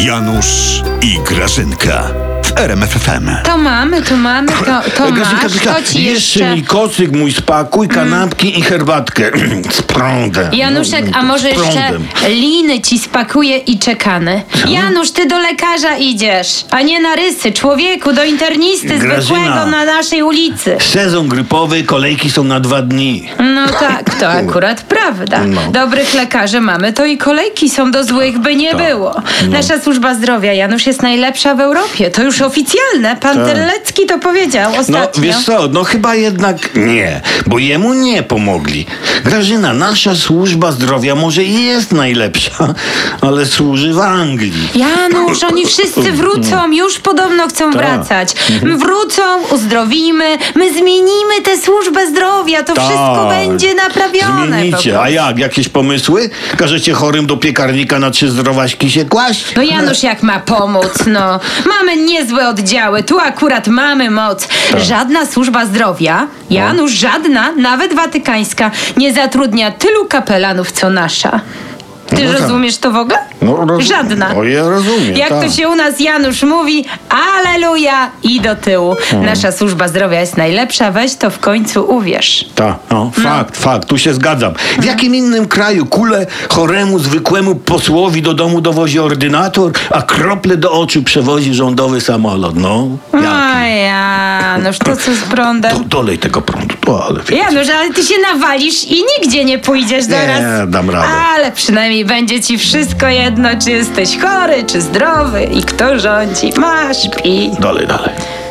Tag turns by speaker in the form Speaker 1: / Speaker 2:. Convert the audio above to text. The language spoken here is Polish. Speaker 1: Janusz i Grażynka w RMFFM.
Speaker 2: To mamy, to mamy, to, to
Speaker 3: Grażynka,
Speaker 2: masz,
Speaker 3: Grażynka,
Speaker 2: to ci
Speaker 3: jeszcze
Speaker 2: jeszcze... Mm.
Speaker 3: mi kocyk mój spakuj, kanapki i herbatkę. z prądem. No,
Speaker 2: Januszek, a może
Speaker 3: Z
Speaker 2: jeszcze
Speaker 3: prądem.
Speaker 2: liny ci spakuje i czekany. Janusz, ty do lekarza idziesz, a nie na rysy. Człowieku, do internisty
Speaker 3: Grażyna.
Speaker 2: zwykłego na naszej ulicy.
Speaker 3: Sezon grypowy, kolejki są na dwa dni.
Speaker 2: No tak, to akurat prawda.
Speaker 3: No.
Speaker 2: Dobrych lekarzy mamy, to i kolejki są do złych, by nie
Speaker 3: Tak.
Speaker 2: było.
Speaker 3: No.
Speaker 2: Nasza służba zdrowia, Janusz, jest najlepsza w Europie. To już oficjalne. Pan
Speaker 3: Tak.
Speaker 2: Terlecki to powiedział
Speaker 3: No
Speaker 2: ostatnio.
Speaker 3: wiesz co, no chyba jednak nie, bo jemu nie pomogli. Grażyna, nasza służba zdrowia może i jest najlepsza, ale służy w Anglii.
Speaker 2: Janusz, oni wszyscy wrócą, już podobno chcą
Speaker 3: Tak.
Speaker 2: wracać.
Speaker 3: Mhm.
Speaker 2: Wrócą, uzdrowimy, my zmienimy tę służbę zdrowia, to wszystko
Speaker 3: Tak.
Speaker 2: będzie naprawione. po
Speaker 3: Zmienicie.
Speaker 2: prostu.
Speaker 3: A jak? Jakieś pomysły? Każecie chorym do piekarnika na trzy zdrowaśki się kłaść?
Speaker 2: No Janusz, jak ma pomóc, no. Mamy niezłe oddziały, tu akurat mamy moc.
Speaker 3: Tak.
Speaker 2: Żadna służba zdrowia,
Speaker 3: No.
Speaker 2: Janusz, żadna, nawet watykańska, nie zatrudnia tylu kapelanów, co nasza. Ty
Speaker 3: No tak.
Speaker 2: rozumiesz to w ogóle?
Speaker 3: No, rozumiem.
Speaker 2: Żadna.
Speaker 3: O, ja rozumiem,
Speaker 2: Jak to
Speaker 3: tak.
Speaker 2: się u nas Janusz mówi, aleluja i do tyłu.
Speaker 3: Hmm.
Speaker 2: Nasza służba zdrowia jest najlepsza, weź to w końcu uwierz.
Speaker 3: Tak, no, fakt, fakt, tu się zgadzam. W jakim innym kraju kule choremu, zwykłemu posłowi do domu dowozi ordynator, a krople do oczu przewozi rządowy samolot? No, jak?
Speaker 2: No Janusz, to co z prądem?
Speaker 3: Do, dolej tego prądu, to ale wie-
Speaker 2: Janusz, ale ty się nawalisz i nigdzie nie pójdziesz zaraz.
Speaker 3: Nie, dam radę.
Speaker 2: Ale przynajmniej będzie ci wszystko jedno, czy jesteś chory, czy zdrowy i kto rządzi. Masz pi.
Speaker 3: Dalej, dalej.